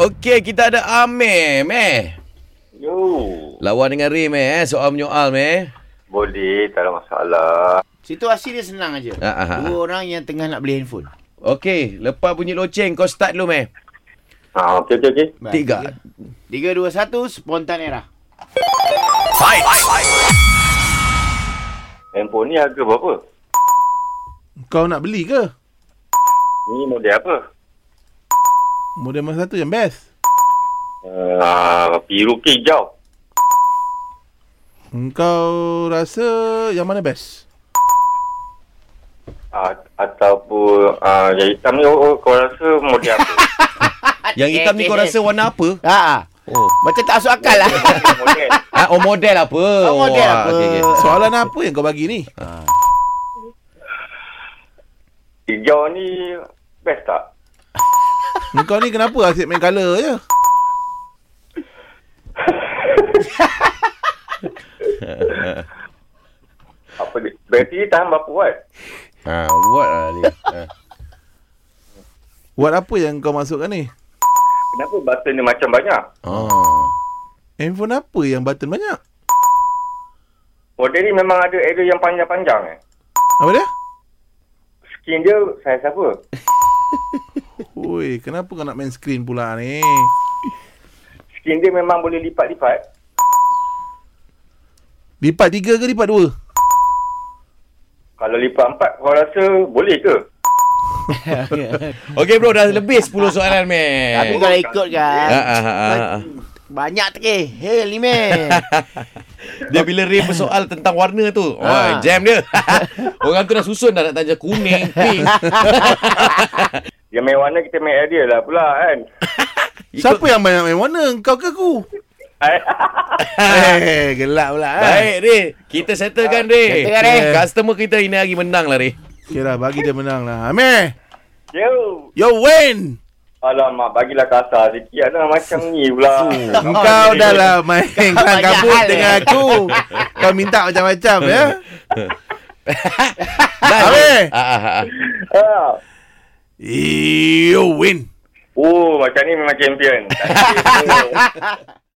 Okey, kita ada Amir, meh. Yo. Lawan dengan Rim eh, soal menyoal meh. Boleh, tak ada masalah. Situasi dia senang aja. Ha, ha, ha. Dua orang yang tengah nak beli handphone. Okey, lepas bunyi loceng kau start dulu meh. Ha, okey, okey, okey. Baik, Tiga. tiga. Tiga, dua, satu. Spontan era. Handphone ni harga berapa? Kau nak beli ke? Ni model apa? Model mana satu yang best? Uh, biru ke hijau? Kau rasa yang mana best? Uh, ataupun uh, yang hitam ni oh, oh, kau rasa model apa? Ah, Yang hitam eh, ni kau rasa warna apa? Ha, ha. Oh. Macam tak masuk akal lah. model. Ah, oh model apa? Oh, model apa? okey, okey. Soalan apa yang kau bagi ni? Hijau ni best tak? Kau ni kenapa asyik main colour je? Apa dia? Bateri tahan berapa watt? Ha, buat lah dia. Ha. Buat apa yang kau masukkan ni? Kenapa button ni macam banyak? Oh. Handphone apa yang button banyak? Model ni memang ada area yang panjang-panjang eh. Apa dia? Skin dia saiz apa? Ui, kenapa kau nak main screen pula ni? Skin dia memang boleh lipat-lipat. Lipat tiga ke lipat dua? Kalau lipat empat, kau rasa boleh ke? Okey bro, dah lebih 10 soalan meh. Tapi kalau ikut kan. Ha, ha, ha, ha. Banyak terkeh. Hei, lima. Dia bila Ray bersoal tentang warna tu. Wah, Ha. jam dia. Orang tu dah susun dah nak tanya kuning, pink. Yang main warna kita main area lah pula kan. Siapa yang banyak main warna? Kau ke aku? Eh, gelap pula. eh. Baik, Ray. Kita settlekan, Ray. Settlekan, Ray. Customer kita ini hari menang lah, Ray. Okay lah, bagi dia menang lah. Amir, Yo. you win! Alamak, bagilah kasar sikit lah macam ni pula. Kau dah lah main kelang banyak kabut hal, dengan eh. aku. Kau minta macam-macam ya. Dah, Amir. Ah, ah, ah. Ah. You win. Oh, macam ni memang champion. Tak ada.